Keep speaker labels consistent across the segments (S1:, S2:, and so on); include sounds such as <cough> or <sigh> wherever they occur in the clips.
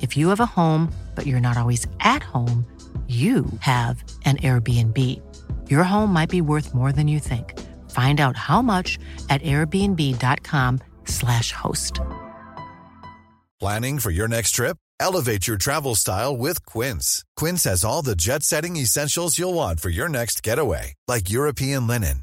S1: If you have a home, but you're not always at home, you have an Airbnb. Your home might be worth more than you think. Find out how much at airbnb.com/slash host.
S2: Planning for your next trip? Elevate your travel style with Quince. Quince has all the jet setting essentials you'll want for your next getaway, like European linen,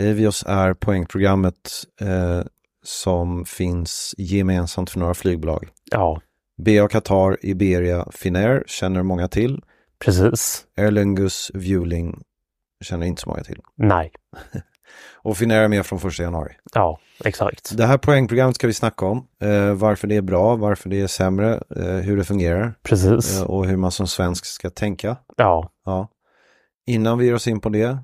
S3: Avios är poängprogrammet eh, som finns gemensamt för några flygbolag.
S4: Ja,
S3: BA Qatar, Iberia, Finnair känner många till.
S4: precis.
S3: Aer Lingus, Vueling känner inte så många till.
S4: Nej.
S3: Och Finnair är med från 1 januari.
S4: Ja, exakt.
S3: Det här poängprogrammet ska vi snacka om. Eh, varför det är bra, varför det är sämre, eh, hur det fungerar
S4: Precis.
S3: eh, och hur man som svensk ska tänka.
S4: Ja.
S3: Ja. Innan vi ger oss in på det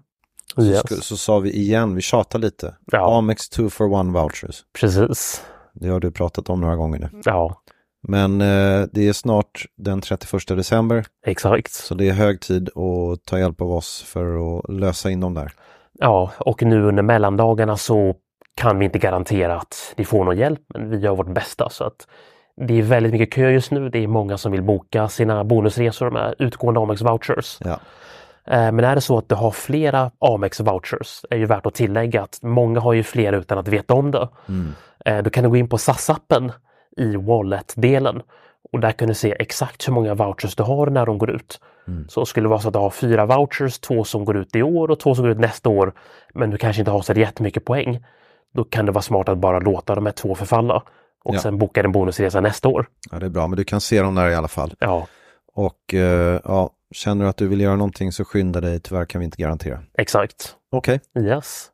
S3: så,
S4: Yes.
S3: sku- så sa vi igen, vi tjatar lite.
S4: Ja.
S3: Amex 2 for 1 vouchers.
S4: Precis.
S3: Det har du pratat om några gånger nu.
S4: Ja,
S3: Men eh, det är snart den 31 december
S4: exakt.
S3: så det är hög tid att ta hjälp av oss för att lösa in dem där.
S4: Ja, och nu under mellandagarna så kan vi inte garantera att ni får någon hjälp, men vi gör vårt bästa så att det är väldigt mycket kö just nu. Det är många som vill boka sina bonusresor med utgående Amex vouchers.
S3: Ja.
S4: Eh, Men är det så att du har flera Amex vouchers, är ju värt att tillägga att många har ju fler utan att veta om det. Eh, Då kan du gå in på SAS-appen i Wallet-delen och där kan du se exakt hur många vouchers du har när de går ut. Så skulle det vara så att du har fyra vouchers, två som går ut i år och två som går ut nästa år, men du kanske inte har så jättemycket poäng. Då kan det vara smart att bara låta de här två förfalla och
S3: Ja.
S4: sen boka en bonusresa nästa år.
S3: ja, det är bra, men du kan se dem där i alla fall.
S4: Ja,
S3: Och eh, ja, känner du att du vill göra någonting så skynda dig, tyvärr kan vi inte garantera.
S4: exakt.
S3: Okej,
S4: Yes.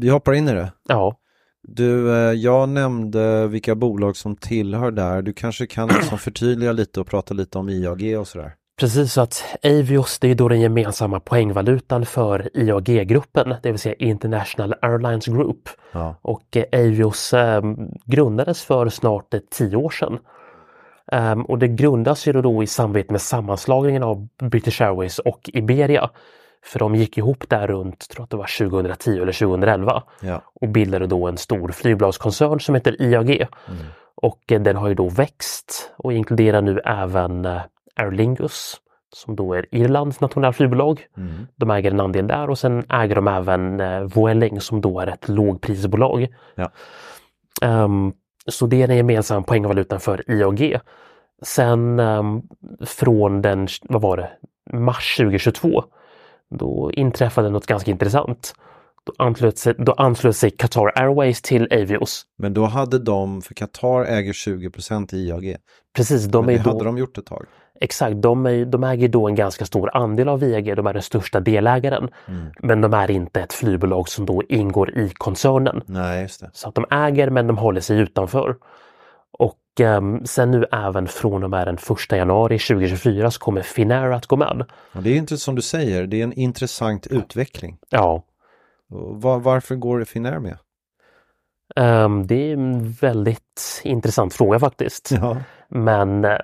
S3: vi hoppar in i det.
S4: Ja,
S3: Du, eh, jag nämnde vilka bolag som tillhör där. Du kanske kan liksom <clears throat> förtydliga lite och prata lite om IAG och sådär.
S4: Precis, så att Avios det är ju då den gemensamma poängvalutan för IAG-gruppen, det vill säga International Airlines Group.
S3: Ja.
S4: Och eh, Avios eh, grundades för snart eh, tio år sedan. Ehm, och det grundas ju då- då i samarbete med sammanslagningen av British Airways och Iberia. För de gick ihop där runt, tror att det var 2010 eller 2011
S3: Ja.
S4: och bildade då en stor flygbolagskoncern som heter IAG. Och eh, den har ju då växt och inkluderar nu även eh, Aer Lingus som då är Irlands nationella flygbolag. De äger en andel där och sen äger de även eh, Vueling som då är ett lågprisbolag.
S3: Ja.
S4: Ehm, så det är den gemensamma poängvalutan för IAG. Sen ehm, från den, vad var det, mars 2022 då inträffade något ganska intressant. Då anslöt sig, då anslöt sig Qatar Airways till Avios.
S3: Men då hade de, för Qatar äger 20 procent i IAG.
S4: Precis,
S3: De
S4: de
S3: Men det
S4: är ju då,
S3: hade de gjort ett tag.
S4: exakt, de, är, ju- de äger då en ganska stor andel av IAG, de är den största delägaren.
S3: Mm.
S4: Men de är inte ett flygbolag som då ingår i koncernen.
S3: Nej, just det.
S4: Så att de äger men de håller sig utanför. Och ehm, sen nu även från och med den 1 januari 2024 så kommer Finnair att gå med.
S3: Och det är inte som du säger, det är en intressant utveckling.
S4: Ja,
S3: Och Var, varför går Finnair
S4: <laughs>
S3: med?
S4: ehm, det är en väldigt intressant fråga faktiskt.
S3: Ja.
S4: Men eh,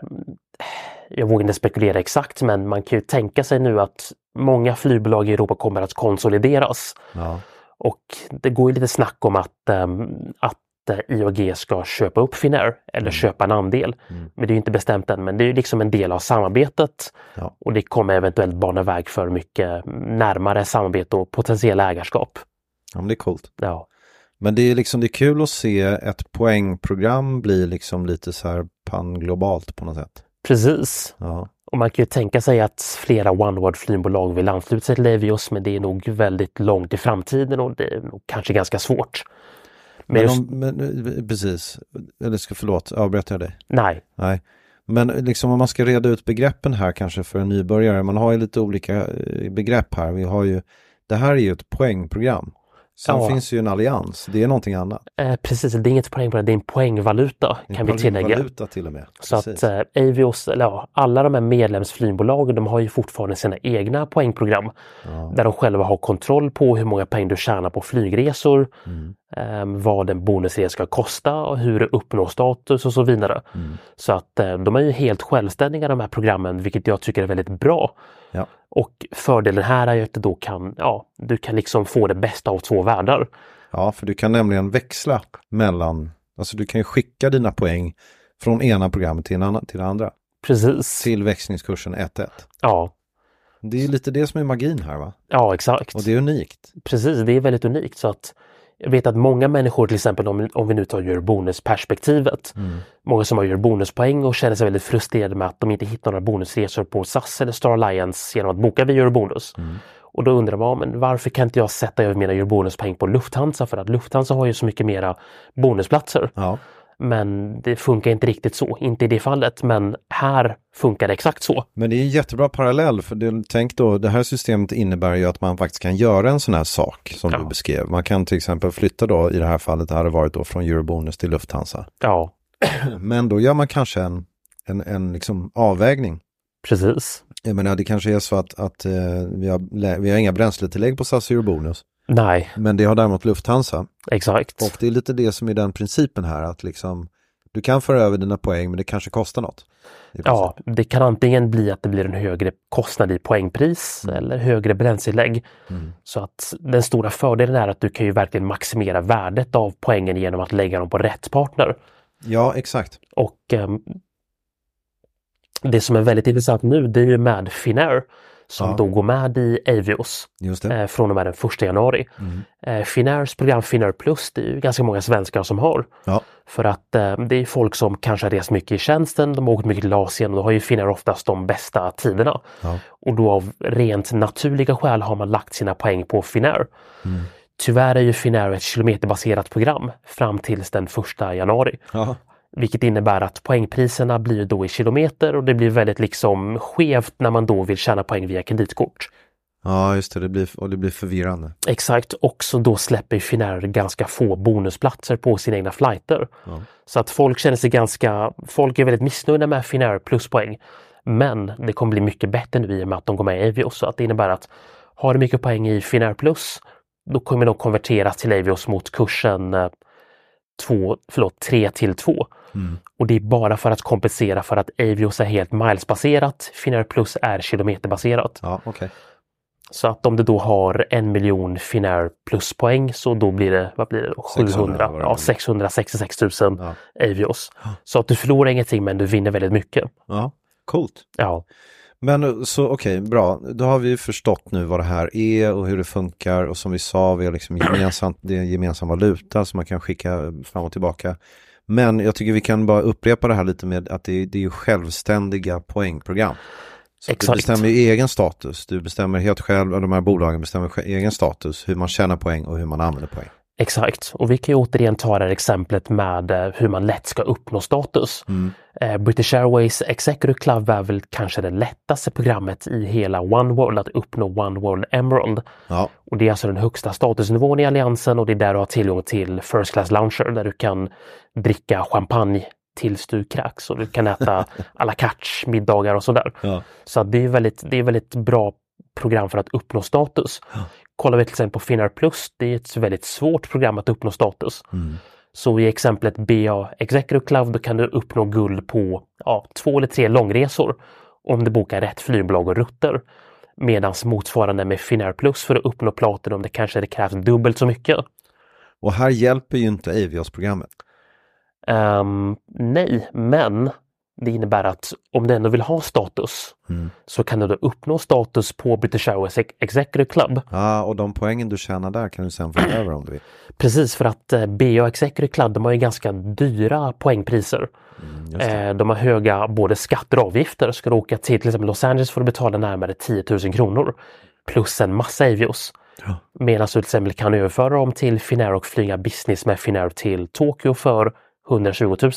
S4: Jag vågar inte spekulera exakt, men man kan ju tänka sig nu att många flygbolag i Europa kommer att konsolideras.
S3: Ja.
S4: Och det går ju lite snack om att, ehm, att eh, IAG ska köpa upp Finnair eller köpa en andel. Men det är ju inte bestämt än, men det är ju liksom en del av samarbetet.
S3: Ja.
S4: Och det kommer eventuellt bana väg för mycket närmare samarbete och potentiella ägarskap.
S3: ja, men det är coolt.
S4: Ja,
S3: Men det är liksom, det är kul att se ett poängprogram bli liksom lite så här panglobalt på något sätt.
S4: precis.
S3: Ja,
S4: Och man kan ju tänka sig att flera OneWorld flygbolag vill ansluta sig till Avios, men det är nog väldigt långt i framtiden och det är nog kanske ganska svårt. Men,
S3: men,
S4: just,
S3: om, men eh, precis. Eller ska, förlåt, avbryter jag dig?
S4: nej,
S3: Nej. Men liksom om man ska reda ut begreppen här kanske för en nybörjare. Man har ju lite olika eh, begrepp här. Vi har ju, det här är ju ett poängprogram. Sen
S4: Ja.
S3: finns ju en allians, det är någonting annat.
S4: eh, precis, det är inget poäng på det, det är en poängvaluta
S3: Det är
S4: kan vi tillägga.
S3: Valuta till och med.
S4: Så
S3: Precis.
S4: att eh, Avios, eller ja, alla de här medlemsflygbolagen, de har ju fortfarande sina egna poängprogram där de själva har kontroll på hur många poäng du tjänar på flygresor,
S3: Mm.
S4: eh, vad en bonusresa ska kosta och hur du uppnår status och så vidare.
S3: Mm.
S4: Så att eh, de är ju helt självständiga de här programmen, vilket jag tycker är väldigt bra.
S3: Ja.
S4: Och fördelen här är ju att du då kan, ja, du kan liksom få det bästa av två världar.
S3: Ja, för du kan nämligen växla mellan, alltså du kan ju skicka dina poäng från ena programmet till, en annan, till det andra.
S4: Precis.
S3: Till växlingskursen 1-1.
S4: Ja,
S3: Det är ju lite det som är magin här va?
S4: ja exakt.
S3: Och det är unikt.
S4: Precis, det är väldigt unikt. Så att jag vet att många människor, till exempel om, om vi nu tar gör bonusperspektivet, många som har gör bonuspoäng och känner sig väldigt frustrerade med att de inte hittar några bonusresor på SAS eller Star Alliance genom att boka via Eurobonus. Och då undrar man, men varför kan inte jag sätta över mina Eurobonuspoäng på Lufthansa? För att Lufthansa har ju så mycket mera bonusplatser.
S3: Ja,
S4: Men det funkar inte riktigt så, inte i det fallet. Men här funkar det exakt så.
S3: men det är en jättebra parallell för det, tänk då, det här systemet innebär ju att man faktiskt kan göra en sån här sak som du
S4: Ja.
S3: beskrev. Man kan till exempel flytta då, i det här fallet det hade varit då från Eurobonus till Lufthansa. <clears throat>
S4: Ja,
S3: Men då gör man kanske en, en, en liksom avvägning.
S4: precis.
S3: Jag menar, det kanske är så att, att eh, vi, har, lä- vi har inga bränsletillägg på SAS Eurobonus.
S4: Nej,
S3: Men det har däremot Lufthansa.
S4: exakt.
S3: Och det är lite det som är den principen här att liksom du kan föra över dina poäng men det kanske kostar något. I
S4: Ja,
S3: princip.
S4: det kan antingen bli att det blir en högre kostnad i poängpris eller högre bränslelägg. Så att den stora fördelen är att du kan ju verkligen maximera värdet av poängen genom att lägga dem på rätt partner.
S3: ja, exakt.
S4: Och ehm, det som är väldigt intressant nu det är ju med Finnair
S3: Ja.
S4: som
S3: Mm.
S4: då går med i Avios
S3: Just det.
S4: eh, från och med den 1 januari. Eh, Finnairs program Finnair Plus, det är ju ganska många svenskar som har.
S3: Ja,
S4: För att eh, det är folk som kanske har rest mycket i tjänsten, de har åkt mycket till Asien och då har ju finnar oftast de bästa tiderna.
S3: Ja.
S4: Och då av rent naturliga skäl har man lagt sina poäng på Finnair. Tyvärr är ju Finnair ett kilometerbaserat program fram tills den 1 januari.
S3: ja.
S4: Vilket innebär att poängpriserna blir ju då i kilometer och det blir väldigt liksom skevt när man då vill tjäna poäng via kreditkort.
S3: ja just det. det blir, och det blir förvirrande.
S4: Exakt, och så då släpper ju Finnair ganska få bonusplatser på sina egna flighter. Så att folk känner sig ganska, folk är väldigt missnöjda med Finnair pluspoäng. Men det kommer bli mycket bättre nu i och med att de går med i Avios. Så att det innebär att har du mycket poäng i Finnair plus, då kommer de konverteras till Avios mot kursen eh, två, förlåt, 3 till 2.
S3: Mm.
S4: Och det är bara för att kompensera för att Avios är helt milesbaserat. Finnair plus är kilometerbaserat.
S3: Ja, okej.
S4: Så att om du då har en miljon Finnair pluspoäng så då blir det, vad blir det då?
S3: 600,
S4: 700,
S3: var det.
S4: ja, 666 000
S3: Ja.
S4: Avios. Så att du förlorar ingenting men du vinner väldigt mycket.
S3: Ja, coolt.
S4: Ja,
S3: Men eh, så okej, bra. Då har vi ju förstått nu vad det här är och hur det funkar och som vi sa, vi har liksom gemensamt, det är en gemensam valuta som man kan skicka fram och tillbaka. Men jag tycker vi kan bara upprepa det här lite med att det är, det är ju självständiga poängprogram. Så att Du
S4: Exakt.
S3: bestämmer ju egen status, du bestämmer helt själv, och de här bolagen bestämmer sj- egen status, hur man tjänar poäng och hur man använder poäng.
S4: exakt. Och vi kan ju återigen ta det här exemplet med eh, hur man lätt ska uppnå status.
S3: Mm.
S4: Eh, British Airways Executive Club är väl kanske det lättaste programmet i hela One World att uppnå One World Emerald.
S3: Ja,
S4: Och det är alltså den högsta statusnivån i alliansen och det är där du har tillgång till First Class Launcher där du kan dricka champagne tills du kräks och du kan äta à la carte middagar och sådär.
S3: Ja.
S4: Så att det är väldigt, det är väldigt bra program för att uppnå status. Kollar vi till exempel på Finnair Plus, det är ett väldigt svårt program att uppnå status. Så i exemplet BA Executive Club då kan du uppnå guld på ja, två eller tre långresor. om du bokar rätt flygbolag och rutter. Medan motsvarande med Finnair Plus för att uppnå platinum, det kanske det krävs dubbelt så mycket.
S3: Och här hjälper ju inte Avios-programmet.
S4: Ehm, nej, men det innebär att om du ändå vill ha status så kan du då uppnå status på British Airways Ex- Executive Club.
S3: Ja, och de poängen du tjänar där kan du sen få över om du vill.
S4: Precis för att eh, BA Executive Club de har ju ganska dyra poängpriser. Eh, de har höga både skatter och avgifter. Ska du åka till till exempel Los Angeles får du betala närmare 10 000 kronor plus en massa avios. Medan du till exempel kan överföra dem till Finnair och flyga business med Finnair till Tokyo för 120 000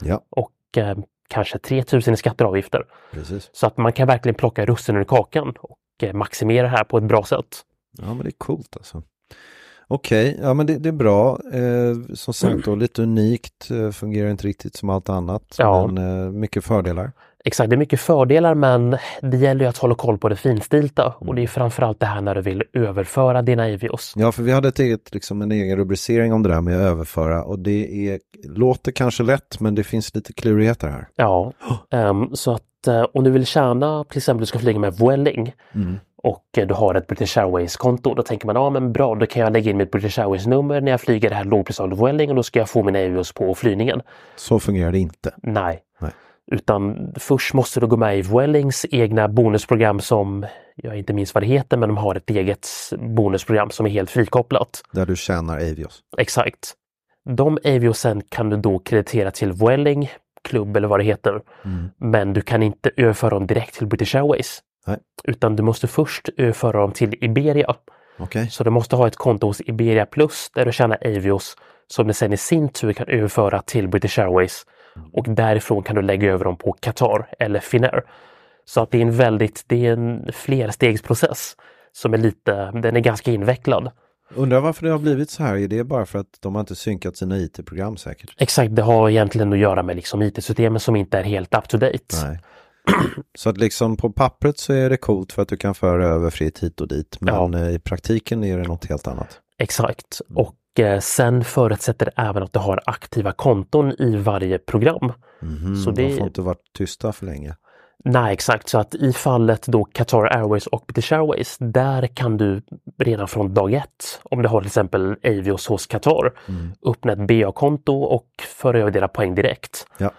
S3: Ja,
S4: och eh, kanske 3 000 i skatter och avgifter.
S3: precis.
S4: Så att man kan verkligen plocka russinen ur kakan och eh, maximera det här på ett bra sätt.
S3: Ja, men det är coolt alltså. Okej, ja men det, det är bra. Eh, som sagt då, lite unikt, eh, fungerar inte riktigt som allt annat.
S4: Ja.
S3: Men eh, mycket fördelar.
S4: Exakt, det är mycket fördelar men det gäller ju att hålla koll på det finstilta och det är framförallt det här när du vill överföra dina
S3: <gasps>
S4: avios.
S3: Ja, för vi hade ett eget, liksom en egen rubricering om det där med att överföra och det är, låter kanske lätt men det finns lite klurigheter här.
S4: Ja, ehm, så att eh, om du vill tjäna, till exempel du ska flyga med Vueling och eh, du har ett British Airways-konto, då tänker man ja men bra, då kan jag lägga in mitt British Airways-nummer när jag flyger det här lågprisavtalet Vueling och då ska jag få mina avios på flygningen.
S3: Så fungerar det inte.
S4: Nej.
S3: Nej.
S4: Utan först måste du gå med i Vuelings egna bonusprogram som jag inte minns vad det heter, men de har ett eget bonusprogram som är helt frikopplat.
S3: Där du tjänar Avios.
S4: Exakt. De aviosen kan du då kreditera till Vueling klubb eller vad det heter. Men du kan inte överföra dem direkt till British Airways.
S3: Nej.
S4: Utan du måste först överföra dem till Iberia.
S3: Okej.
S4: Så du måste ha ett konto hos Iberia Plus där du tjänar Avios som du sen i sin tur kan överföra till British Airways. Och därifrån kan du lägga över dem på Qatar eller Finnair. Så att det är en väldigt, det är en flerstegsprocess som är lite, den är ganska invecklad.
S3: Undrar varför det har blivit så här. Är det bara för att de har inte synkat sina IT-program säkert?
S4: Exakt, det har egentligen att göra med liksom IT-systemen som inte är helt up to date.
S3: Nej. Så att liksom på pappret så är det coolt för att du kan föra över fritt hit och dit. Men eh, i praktiken är det något helt annat.
S4: Exakt.
S3: Mm.
S4: Och eh, sen förutsätter det även att du har aktiva konton i varje program. Så
S3: De
S4: det,
S3: Mhm, får inte varit tysta för länge.
S4: nej, exakt. Så att i fallet då Qatar Airways och British Airways, där kan du redan från dag ett, om du har till exempel Avios hos Qatar, öppna ett BA-konto och föra över dina poäng direkt.
S3: Ja.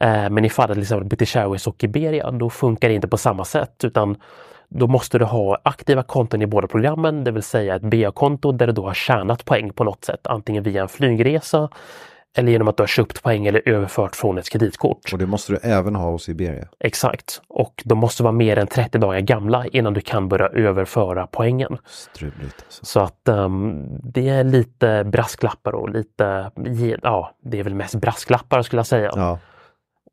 S4: Eh, Men i fallet till exempel British Airways och Iberia, då funkar det inte på samma sätt utan då måste du ha aktiva konton i båda programmen, det vill säga ett BA-konto där du då har tjänat poäng på något sätt, antingen via en flygresa eller genom att du har köpt poäng eller överfört från ett kreditkort.
S3: Och det måste du även ha hos Iberia.
S4: Exakt. Och de måste vara mer än 30 dagar gamla innan du kan börja överföra poängen.
S3: Struligt. Alltså.
S4: Så att ehm, det är lite brasklappar och lite, ja, det är väl mest brasklappar skulle jag säga.
S3: Ja,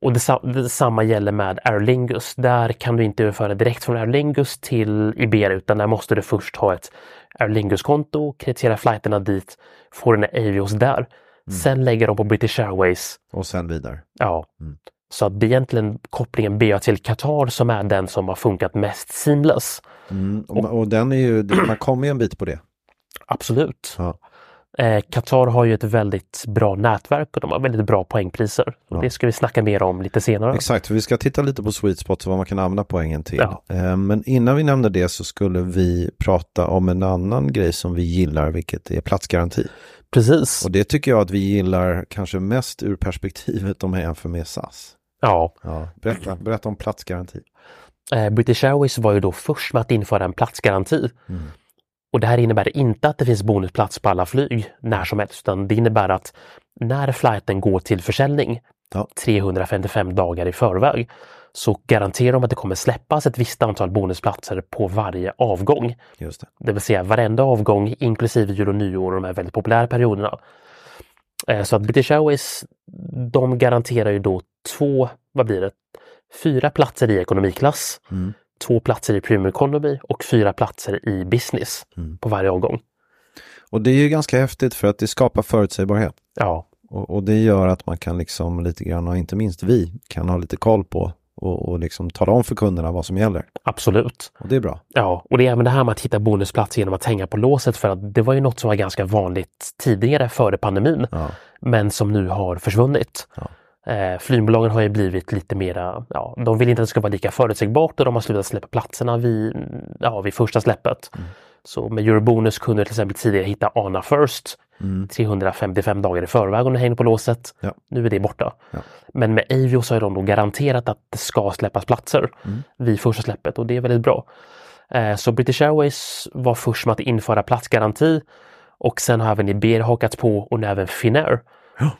S4: Och desa- detsamma gäller med Aer Lingus. Där kan du inte överföra direkt från Aer Lingus till Iberia utan där måste du först ha ett Aer Lingus-konto, kreditera flighterna dit, få dina Avios där. Sen lägger de på British Airways.
S3: och sen vidare.
S4: Ja. Så att det är egentligen kopplingen BA till Qatar som är den som har funkat mest seamless.
S3: Mm. Och, och den är ju, man kommer ju en bit på det.
S4: Absolut.
S3: Ja.
S4: Eh, Qatar har ju ett väldigt bra nätverk och de har väldigt bra poängpriser. Och Det ska vi snacka mer om lite senare.
S3: Exakt, för vi ska titta lite på sweet spots och vad man kan använda poängen till.
S4: Ja.
S3: Eh, Men innan vi nämner det så skulle vi prata om en annan grej som vi gillar, vilket är platsgaranti.
S4: Precis.
S3: Och det tycker jag att vi gillar kanske mest ur perspektivet om jag jämför med SAS.
S4: Ja.
S3: Ja, berätta, berätta om platsgaranti.
S4: Eh, British Airways var ju då först med att införa en platsgaranti. Och det här innebär inte att det finns bonusplats på alla flyg när som helst, utan det innebär att när flighten går till försäljning
S3: Ja.
S4: 355 dagar i förväg så garanterar de att det kommer släppas ett visst antal bonusplatser på varje avgång.
S3: Just det.
S4: Det vill säga varenda avgång inklusive jul och nyår och de här väldigt populära perioderna. Eh, Så att British Airways, de garanterar ju då två, vad blir det, fyra platser i ekonomiklass, två platser i premium economy och fyra platser i business på varje avgång.
S3: Och det är ju ganska häftigt för att det skapar förutsägbarhet.
S4: Ja,
S3: Och, och det gör att man kan liksom lite grann, och inte minst vi, kan ha lite koll på och, och liksom tala om för kunderna vad som gäller.
S4: absolut.
S3: Och det är bra.
S4: Ja, och det är även det här med att hitta bonusplats genom att hänga på låset för att det var ju något som var ganska vanligt tidigare före pandemin, men som nu har försvunnit. Eh, flygbolagen har ju blivit lite mera, ja, de vill inte att det ska vara lika förutsägbart och de har slutat släppa platserna vid, ja, vid första släppet. Så med Eurobonus kunde du till exempel tidigare hitta ANA First 355 dagar i förväg om du hängde på låset.
S3: Ja.
S4: Nu är det borta.
S3: Ja.
S4: Men med Avio så har de då garanterat att det ska släppas platser
S3: Mm.
S4: vid första släppet och det är väldigt bra. Eh, Så British Airways var först med att införa platsgaranti och sen har även Iber hakats på och nu även Finnair.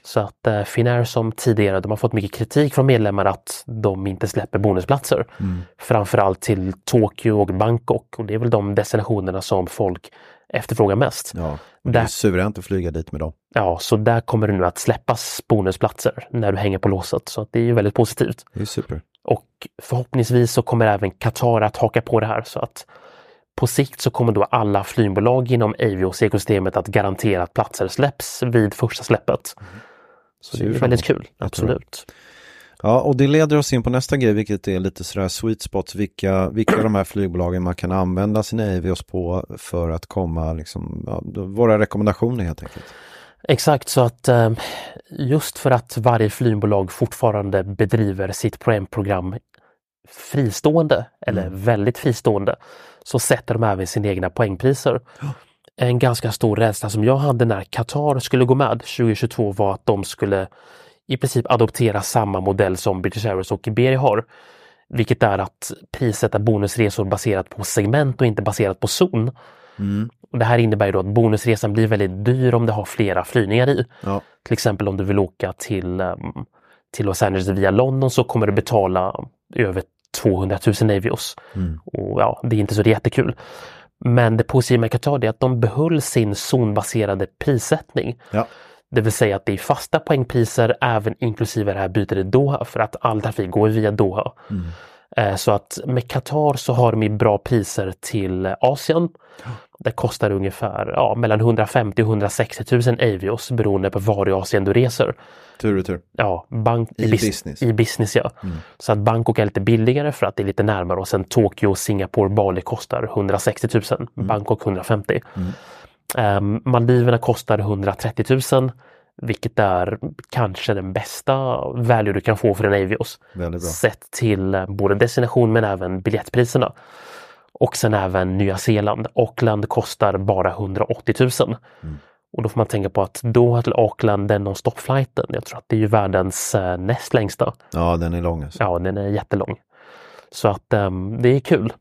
S4: Så att eh, Finnair som tidigare, de har fått mycket kritik från medlemmar att de inte släpper bonusplatser.
S3: Mm.
S4: Framförallt till Tokyo och Bangkok och det är väl de destinationerna som folk efterfrågar mest.
S3: Ja, och det är
S4: Där-
S3: suveränt att flyga dit med dem.
S4: Ja, så där kommer det nu att släppas bonusplatser när du hänger på låset. Så att det är ju väldigt positivt.
S3: Det är super.
S4: Och förhoppningsvis så kommer även Qatar att haka på det här så att på sikt så kommer då alla flygbolag inom Avios-ekosystemet att garantera att platser släpps vid första släppet. Så
S3: Ser
S4: det
S3: vi
S4: är
S3: fram
S4: väldigt
S3: emot.
S4: kul, absolut.
S3: Ja, och det leder oss in på nästa grej, vilket är lite sådär sweet spots, vilka, vilka av de här flygbolagen man kan använda sina Avios på för att komma, liksom, ja, då- våra rekommendationer helt enkelt.
S4: Exakt, så att eh, just för att varje flygbolag fortfarande bedriver sitt poängprogram fristående eller väldigt fristående så sätter de även sina egna poängpriser. En ganska stor rädsla som jag hade när Qatar skulle gå med 2022 var att de skulle i princip adoptera samma modell som British Airways och Iberia har. Vilket är att prissätta bonusresor baserat på segment och inte baserat på zon.
S3: Mm.
S4: Och det här innebär ju då att bonusresan blir väldigt dyr om det har flera flygningar i.
S3: Ja,
S4: Till exempel om du vill åka till, ehm, till Los Angeles via London så kommer du betala över 200 000 Avios. Och ja, det är inte så jättekul. Men det positiva med Qatar är att de behöll sin zonbaserade prissättning.
S3: ja.
S4: Det vill säga att det är fasta poängpriser även inklusive det här bytet i Doha för att all trafik går via Doha. Eh, Så att med Qatar så har de ju bra priser till eh, Asien. Det kostar ungefär ja, mellan 150 000 och 160 000 avios beroende på var i Asien du reser.
S3: tur och tur.
S4: Ja, bank,
S3: I
S4: bus-
S3: business. Mm.
S4: I business ja. Så att Bangkok är lite billigare för att det är lite närmare och sen Tokyo, Singapore, Bali kostar 160 000.
S3: Mm.
S4: Bangkok 150. Ehm, Maldiverna kostar 130 000. Vilket är kanske den bästa value du kan få för en Avios.
S3: Väldigt bra.
S4: Sett till eh, både destination men även biljettpriserna. Och sen även Nya Zeeland. Auckland kostar bara 180 000.
S3: Mm.
S4: Och då får man tänka på att Doha till Auckland, den non-stop-flighten, jag tror att det är ju världens eh, näst längsta.
S3: Ja, den är lång alltså.
S4: Ja, den är jättelång. Så att ehm, det är kul.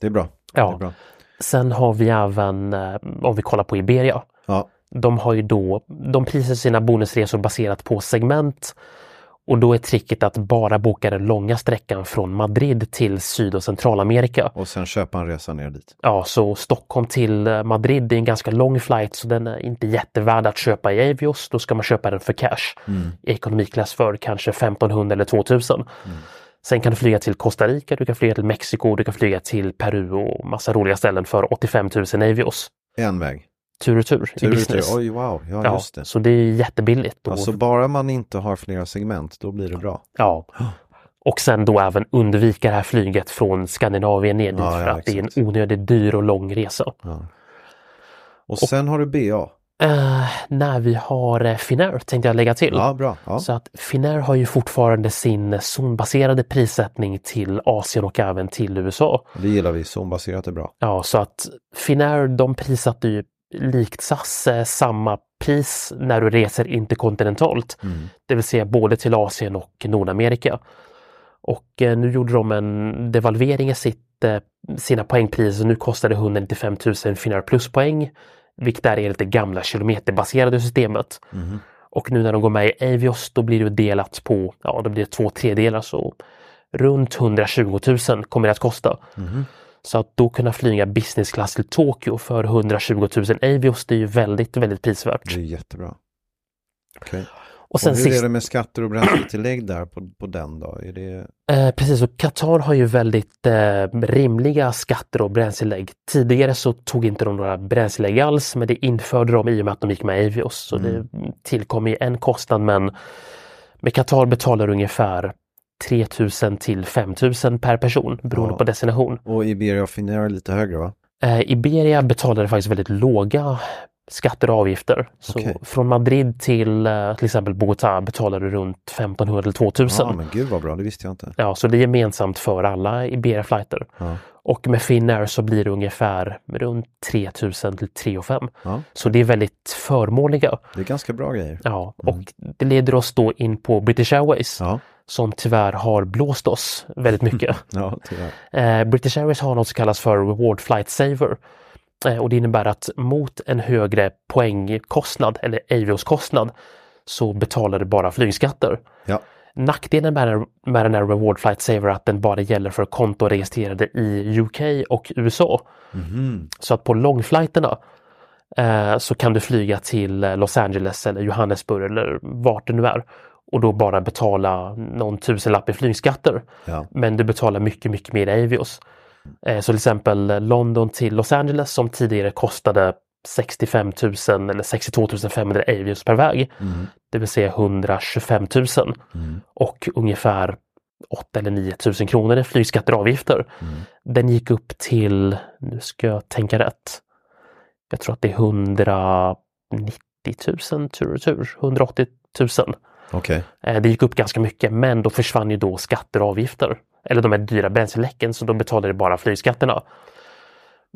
S3: Det är bra. Det är
S4: Ja.
S3: bra.
S4: Sen har vi även, eh, om vi kollar på Iberia,
S3: Ja,
S4: de har ju då, de prisar sina bonusresor baserat på segment. Och då är tricket att bara boka den långa sträckan från Madrid till Syd och Centralamerika.
S3: och sen köpa en resa ner dit.
S4: Ja, så Stockholm till eh, Madrid det är en ganska lång flight så den är inte jättevärd att köpa i Avios. Då ska man köpa den för cash.
S3: Mm.
S4: I ekonomiklass för kanske 1500 eller 2000.
S3: Mm.
S4: Sen kan du flyga till Costa Rica, du kan flyga till Mexiko, du kan flyga till Peru och massa roliga ställen för 85 000 Avios.
S3: En väg.
S4: Tur och tur, i
S3: Tur och tur.
S4: business.
S3: Oj, wow. Ja,
S4: Ja,
S3: just det.
S4: så det är jättebilligt. Och,
S3: Alltså bara man inte har flera segment, då blir det bra.
S4: ja. och sen då även undvika det här flyget från Skandinavien ner dit
S3: Ja,
S4: för
S3: ja,
S4: att det är
S3: exakt.
S4: en onödigt dyr och lång resa.
S3: Och sen har du BA.
S4: Eh, när vi har eh, Finnair tänkte jag lägga till.
S3: Ja, bra. Ja.
S4: Så att Finnair har ju fortfarande sin zonbaserade prissättning till Asien och även till USA.
S3: Det gillar vi. Zonbaserat är bra.
S4: Ja, så att Finnair de prissatte ju likt SAS eh, samma pris när du reser interkontinentalt.
S3: Mm.
S4: Det vill säga både till Asien och Nordamerika. Och eh, nu gjorde de en devalvering i sitt, eh, sina poängpriser. Nu kostar det 195 000 Finnair pluspoäng. Vilket är enligt det gamla kilometerbaserade systemet.
S3: Mm-hmm.
S4: Och nu när de går med i Avios då blir det delat på, ja det blir två tredjedelar så runt 120 000 kommer det att kosta.
S3: Mm-hmm.
S4: Så att då kunna flyga business class till Tokyo för 120 000 Avios det är ju väldigt, väldigt prisvärt.
S3: Det är jättebra. Okej.
S4: Och
S3: Mm. och
S4: sen
S3: hur är
S4: sist,
S3: det med skatter och bränsletillägg där på, på den då? Är det,
S4: eh, precis, och Qatar har ju väldigt eh, rimliga skatter och bränslelägg. Tidigare så tog inte de några bränslelägg alls men det införde de i och med att de gick med i Avios. Så
S3: Mm.
S4: det tillkom ju en kostnad men med Qatar betalar ungefär 3000 till 5000 per person beroende
S3: Ja.
S4: på destination.
S3: och Iberia och Finnair är lite högre va?
S4: Eh, Iberia betalade faktiskt väldigt låga skatter och avgifter. Så
S3: Okej.
S4: från Madrid till eh, till exempel Bogotá betalar du runt 1500 eller 2000.
S3: Ja, men gud vad bra, det visste jag inte.
S4: Ja, så det är gemensamt för alla Iberia-flighter.
S3: Ja.
S4: Och med Finnair så blir det ungefär runt 3000 till 3 500.
S3: Ja,
S4: Så det är väldigt förmånliga.
S3: det är ganska bra grejer.
S4: Ja, och det leder oss då in på British Airways
S3: Mm. Ja,
S4: som tyvärr har blåst oss väldigt
S3: <laughs>
S4: mycket.
S3: ja tyvärr.
S4: Eh, British Airways har något som kallas för Reward Flight Saver. Eh, och det innebär att mot en högre poängkostnad eller Avios-kostnad så betalar du bara flygskatter.
S3: Ja,
S4: Nackdelen med den, med den här Reward Flight Saver är att den bara gäller för kontoregistrerade i UK och USA.
S3: Mm-hmm.
S4: Så att på långflighterna eh, så kan du flyga till eh, Los Angeles eller Johannesburg eller vart det nu är och då bara betala någon tusenlapp i flygskatter.
S3: ja,
S4: Men du betalar mycket, mycket mer i Avios. Eh, så till exempel eh, London till Los Angeles som tidigare kostade 65 000 eller 62 500 Avios per väg.
S3: mm-hmm.
S4: Det vill säga 125 000 och ungefär 8 eller 9 000 kronor i flygskatter och avgifter. Den gick upp till, nu ska jag tänka rätt, jag tror att det är 190 000 tur och tur, 180 000.
S3: okej.
S4: Eh, Det gick upp ganska mycket men då försvann ju då skatter och avgifter. Eller de här dyra bränsleläcken så då betalade det bara flygskatterna.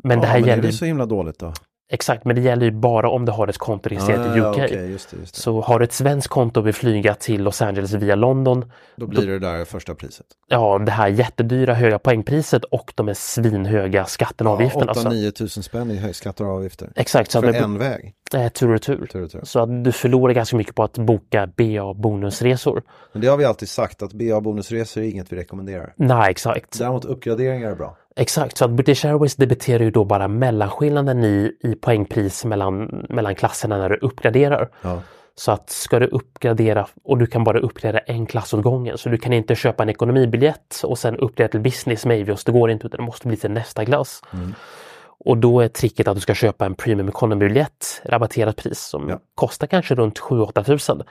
S4: Men det här
S3: ja, men är
S4: gäller
S3: det
S4: ju,
S3: så himla dåligt då?
S4: exakt, men det gäller ju bara om du har ett konto registrerat i UK.
S3: Ah, okej, just det, just det.
S4: Så har du ett svenskt konto och vill flyga till Los Angeles via London,
S3: Då blir det där första priset.
S4: ja det här jättedyra höga poängpriset och de här svinhöga skatterna och avgifterna. alltså.
S3: 8-9 tusen spänn i höj- skatter och avgifter.
S4: Exakt, så att
S3: För
S4: med-
S3: en väg.
S4: eh, tur och tur.
S3: Tur och tur.
S4: Så att du förlorar ganska mycket på att boka BA bonusresor.
S3: Men det har vi alltid sagt att BA-bonusresor är inget vi rekommenderar.
S4: Nej, exakt.
S3: Däremot uppgraderingar är bra.
S4: Exakt, så att British Airways debiterar ju då bara mellanskillnaden i, i poängpris mellan, mellan klasserna när du uppgraderar.
S3: Ja.
S4: Så att ska du uppgradera och du kan bara uppgradera en klass åt gången så du kan inte köpa en ekonomibiljett och sen uppgradera till business med Avios. Det går inte utan det måste bli till nästa klass.
S3: Mm.
S4: Och då är tricket att du ska köpa en premium economy-biljett rabatterat pris som
S3: Ja.
S4: kostar kanske runt 7-8 tusen.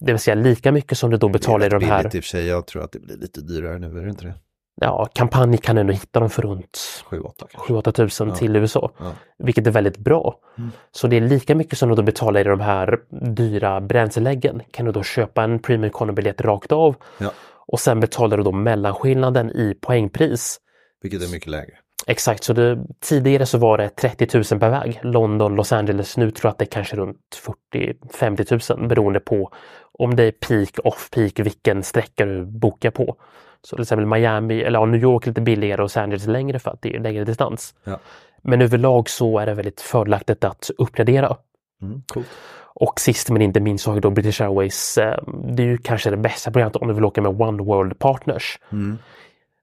S4: Det vill säga lika mycket som du då betalar i
S3: det är
S4: de
S3: rätt
S4: här.
S3: billigt i och för sig. Jag tror att det blir lite dyrare nu, är det inte det?
S4: Ja, kampanj kan du nog hitta dem för runt
S3: 7-8 kanske.
S4: 7-8 tusen till USA.
S3: Ja. Mm.
S4: Vilket är väldigt bra. Så det är lika mycket som du då betalar i de här dyra bränsleläggen. Kan du då köpa en Premium Economy-biljett rakt av
S3: Ja,
S4: och sen betalar du då mellanskillnaden i poängpris.
S3: vilket är mycket lägre.
S4: Exakt, så det, tidigare så var det 30 000 per väg. London, Los Angeles. Nu tror jag att det är kanske runt 40-50 000 beroende på om det är peak, off-peak, vilken sträcka du bokar på. Så till exempel Miami eller ja, New York lite billigare och Los Angeles längre för att det är längre distans.
S3: Ja.
S4: Men överlag så är det väldigt fördelaktigt att uppgradera.
S3: Mm, coolt.
S4: Och sist men inte minst så har ju då British Airways, eh, det är ju kanske det bästa programmet om du vill åka med One World Partners.
S3: Mm.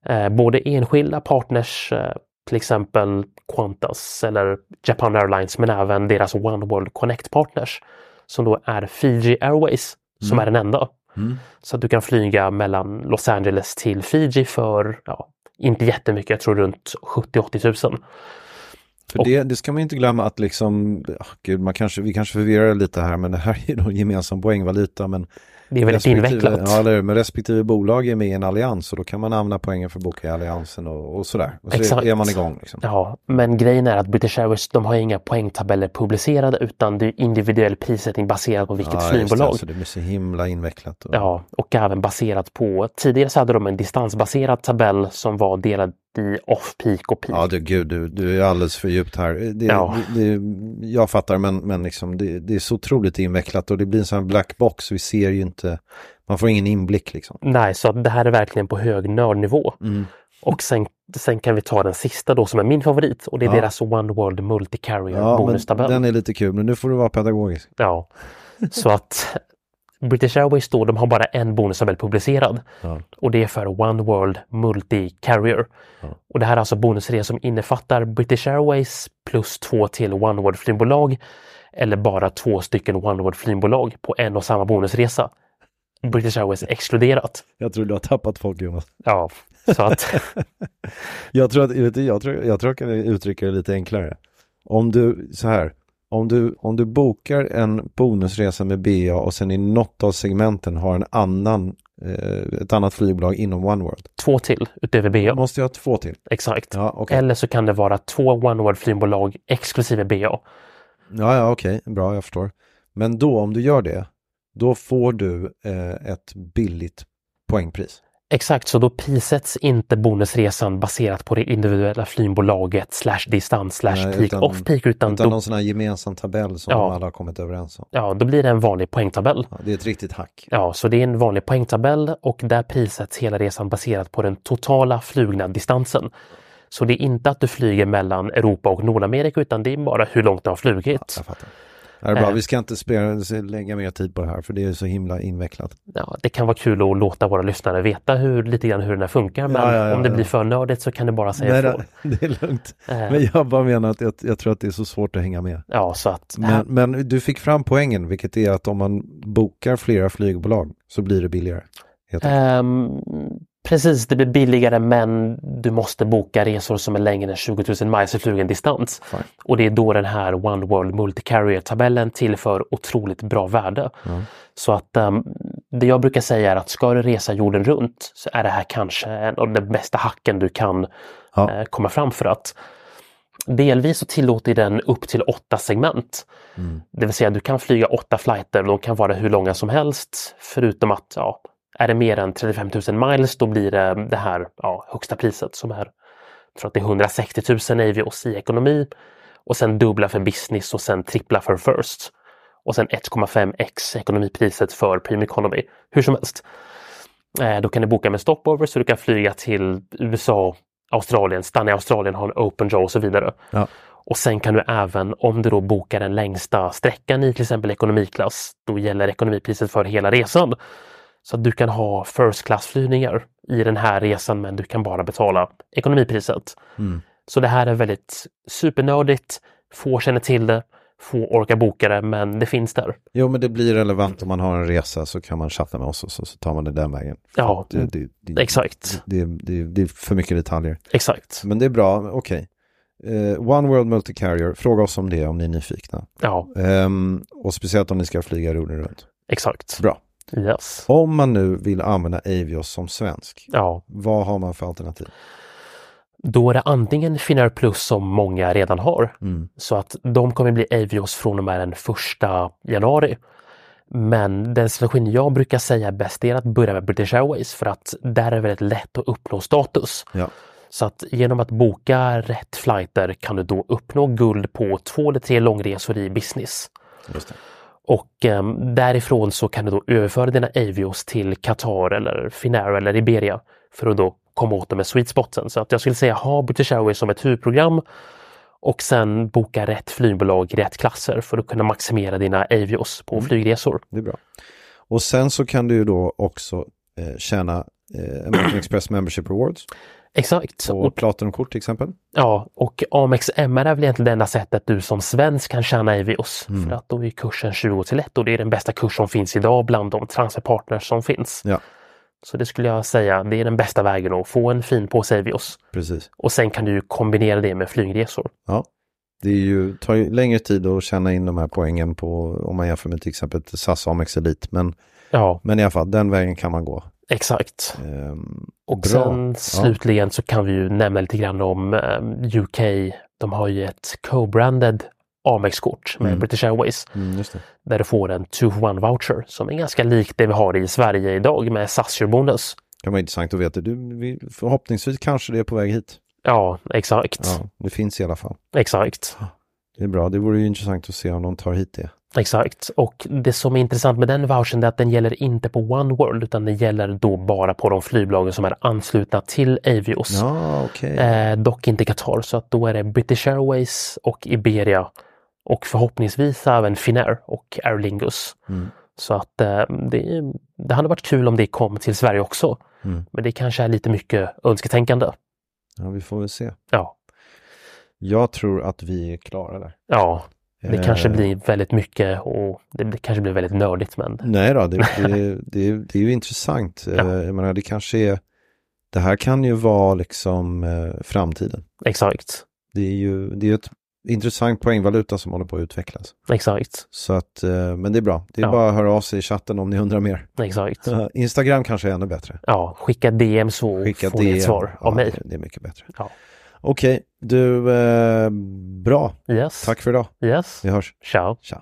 S4: Eh, Både enskilda partners, eh, till exempel Qantas eller Japan Airlines, men även deras One World Connect Partners som då är Fiji Airways som är den enda.
S3: Mm.
S4: Så att du kan flyga mellan Los Angeles till Fiji för, ja, inte jättemycket, jag tror runt 70-80 000.
S3: För det, det ska man ju inte glömma att liksom, ah, gud, man kanske, vi kanske förvirrar lite här, men det här är ju då en gemensam poängvaluta. Men
S4: Det är väldigt
S3: respektive-
S4: invecklat.
S3: Ja, eller hur? Men respektive bolag är med i en allians och då kan man använda poängen för att boka i alliansen och, och sådär. Och så
S4: Exakt.
S3: är man igång. Liksom.
S4: Ja, men grejen är att British Airways de har inga poängtabeller publicerade utan det är individuell prissättning baserat på vilket
S3: Ja, just det.
S4: flygbolag.
S3: Så det blir så himla invecklat. Och,
S4: Ja, och även baserat på, tidigare så hade de en distansbaserad tabell som var delad i off-peak och peak.
S3: Ja, du, gud, du, du är alldeles för djupt här. Det,
S4: Ja.
S3: det, det, jag fattar, men, men liksom, det, det är så otroligt invecklat och det blir en sån här black box. Vi ser ju inte, man får ingen inblick liksom.
S4: Nej, så att det här är verkligen på hög nördnivå.
S3: Mm.
S4: Och sen, sen kan vi ta den sista då som är min favorit och det är
S3: Ja.
S4: deras One World Multi-Carrier
S3: Ja, men
S4: bonustabell.
S3: den är lite kul, men nu får du vara pedagogisk.
S4: Ja, så att British Airways då, de har bara en bonustabell publicerad
S3: Ja.
S4: och det är för One World Multi Carrier. Och det här är alltså bonusresor som innefattar British Airways plus två till One World flygbolag eller bara två stycken One World flygbolag på en och samma bonusresa. British Airways exkluderat.
S3: Jag tror du har tappat folk, Jonas.
S4: Ja, så att
S3: Jag tror att, vet du, jag tror, jag tror att jag kan uttrycka det lite enklare. Om du, så här, om du, om du bokar en bonusresa med BA och sen i något av segmenten har en annan, eh, ett annat flygbolag inom OneWorld.
S4: två till utöver BA.
S3: Måste jag ha två till?
S4: Exakt.
S3: Ja, okej.
S4: Eller så kan det vara två One World flygbolag exklusive BA.
S3: Ja, ja, okej, bra, jag förstår. Men då, om du gör det, då får du eh, ett billigt poängpris.
S4: Exakt, så då prissätts inte bonusresan baserat på det individuella flygbolaget slash distans slash
S3: Nej,
S4: peak
S3: Eh, utan-
S4: off peak utan,
S3: Utan
S4: då,
S3: någon sån här gemensam tabell som
S4: Ja.
S3: de alla har kommit överens om.
S4: ja, då blir det en vanlig poängtabell.
S3: Ja, det är ett riktigt hack.
S4: Ja, så det är en vanlig poängtabell och där prissätts hela resan baserat på den totala flugna distansen. Så det är inte att du flyger mellan Europa och Nordamerika utan det är bara hur långt du har flugit.
S3: Jag fattar. Ja, det är bra.
S4: Eh.
S3: Vi ska inte spela, lägga mer tid på det här, för det är så himla invecklat.
S4: Ja, det kan vara kul att låta våra lyssnare veta hur, lite grann hur den här funkar men
S3: Ja, ja, ja,
S4: om det
S3: ja.
S4: blir för nördigt så kan du bara säga
S3: Nej,
S4: ifrån.
S3: det, <laughs> det är lugnt.
S4: Eh.
S3: Men jag bara menar att jag, jag tror att det är så svårt att hänga med.
S4: Ja, så att
S3: Men, men du fick fram poängen, vilket är att om man bokar flera flygbolag så blir det billigare. Helt enkelt.
S4: Ehm, precis, det blir billigare men du måste boka resor som är längre än 20 000 miles i flugen distans.
S3: Fine.
S4: Och det är då den här One World Multicarrier-tabellen tillför otroligt bra värde. Så att ehm, det jag brukar säga är att ska du resa jorden runt så är det här kanske en av de bästa hacken du kan
S3: Ja.
S4: eh, komma fram för att delvis så tillåter den upp till åtta segment. Det vill säga du kan flyga åtta flighter och de kan vara hur långa som helst förutom att ja, är det mer än 35 000 miles då blir det det här ja, högsta priset som är jag tror att det är 160 000 Avios i ekonomi och sen dubbla för business och sen trippla för first. Och sen 1,5x ekonomipriset för premium economy. Hur som helst. Eh, Då kan du boka med stopover så du kan flyga till USA, Australien, stanna i Australien, ha en open jaw och så vidare.
S3: Ja.
S4: Och sen kan du även, om du då bokar den längsta sträckan i till exempel ekonomiklass, då gäller ekonomipriset för hela resan. Så att du kan ha first class-flygningar i den här resan men du kan bara betala ekonomipriset.
S3: Mm.
S4: Så det här är väldigt supernördigt, få känner till det, få orkar boka det men det finns där.
S3: Jo, men det blir relevant om man har en resa så kan man chatta med oss och så, så tar man det den vägen. För
S4: Ja, mm.
S3: att det, det, det,
S4: Exakt,
S3: Det, det, det är för mycket detaljer.
S4: exakt.
S3: Men det är bra, okej. Eh, One World Multicarrier, fråga oss om det om ni är nyfikna.
S4: Ja,
S3: Ehm, och speciellt om ni ska flyga jorden runt.
S4: exakt.
S3: Bra.
S4: Yes.
S3: Om man nu vill använda Avios som svensk,
S4: Ja,
S3: vad har man för alternativ?
S4: då är det antingen Finnair Plus som många redan har.
S3: Mm.
S4: Så att de kommer bli Avios från och med den första januari. Men den strategin jag brukar säga är bäst är att börja med British Airways för att där är det väldigt lätt att uppnå status.
S3: Ja.
S4: Så att genom att boka rätt flighter kan du då uppnå guld på två eller tre långresor i business.
S3: Just det.
S4: Och eh, därifrån så kan du då överföra dina Avios till Qatar eller Finnair eller Iberia för att då komma åt dem med sweet spoten. Så att jag skulle säga ha British Airways som ett huvudprogram och sen boka rätt flygbolag i rätt klasser för att kunna maximera dina Avios på
S3: Mm.
S4: flygresor.
S3: Det är bra. Och sen så kan du ju då också eh, tjäna eh, American Express Membership Rewards
S4: Exakt.
S3: på
S4: Och,
S3: Platinumkort till exempel.
S4: ja, och Amex MR är väl egentligen det enda sättet du som svensk kan tjäna Avios.
S3: Mm.
S4: För att då är kursen 20 till 1 och det är den bästa kurs som finns idag bland de transferpartners som finns.
S3: Ja,
S4: Så det skulle jag säga, det är den bästa vägen att få en fin påse Avios.
S3: precis.
S4: Och sen kan du ju kombinera det med flygresor.
S3: Ja. Det är ju, tar ju längre tid att tjäna in de här poängen på om man jämför med till exempel ett SAS Amex Elite. Men,
S4: Ja,
S3: men i alla fall, den vägen kan man gå.
S4: exakt.
S3: Ehm,
S4: Och
S3: bra.
S4: sen
S3: Ja.
S4: slutligen så kan vi ju nämna lite grann om eh, UK. De har ju ett co-branded Amex-kort med
S3: Mm.
S4: British Airways
S3: Mm, just det.
S4: där du får en 2-1 voucher som är ganska lik det vi har i Sverige idag med SAS-bonus.
S3: kan vara intressant att veta. Du, vi, förhoppningsvis kanske det är på väg hit.
S4: Ja, exakt.
S3: Ja, det finns i alla fall.
S4: Exakt.
S3: Det är bra. Det vore ju intressant att se om de tar hit det.
S4: Exakt. Och det som är intressant med den vouchern är att den gäller inte på One World utan den gäller då bara på de flygbolagen som är anslutna till Avios.
S3: Ja, okej.
S4: Eh, dock inte Qatar, så att då är det British Airways och Iberia och förhoppningsvis även Finnair och Aer Lingus.
S3: Mm.
S4: Så att eh, det, det hade varit kul om det kom till Sverige också.
S3: Mm.
S4: Men det kanske är lite mycket önsketänkande.
S3: Ja, vi får väl se.
S4: Ja,
S3: Jag tror att vi är klara där.
S4: ja det
S3: Eh,
S4: kanske blir väldigt mycket och det, det kanske blir väldigt nördigt men
S3: Nej då,
S4: <laughs>
S3: det, det, det, det är ju intressant. Ja. Jag menar, det kanske är... Det här kan ju vara liksom eh, framtiden.
S4: exakt,
S3: Det är ju det är ett intressant poängvaluta som håller på att utvecklas.
S4: exakt,
S3: Så att, eh, men det är bra. Det är
S4: Ja.
S3: bara att höra av sig i chatten om ni undrar mer.
S4: exakt.
S3: Instagram kanske är ännu bättre.
S4: Ja, skicka DM så
S3: Skicka
S4: får ni
S3: DM.
S4: ett svar
S3: ja,
S4: av mig.
S3: Det är mycket bättre.
S4: Ja.
S3: Okej, du, eh, bra.
S4: Yes.
S3: Tack för idag.
S4: Yes.
S3: Vi hörs.
S4: Ciao.
S3: Tja.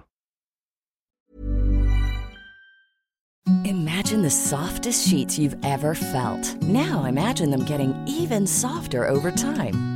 S5: Imagine the softest sheets you've ever felt. Now imagine them getting even softer over time.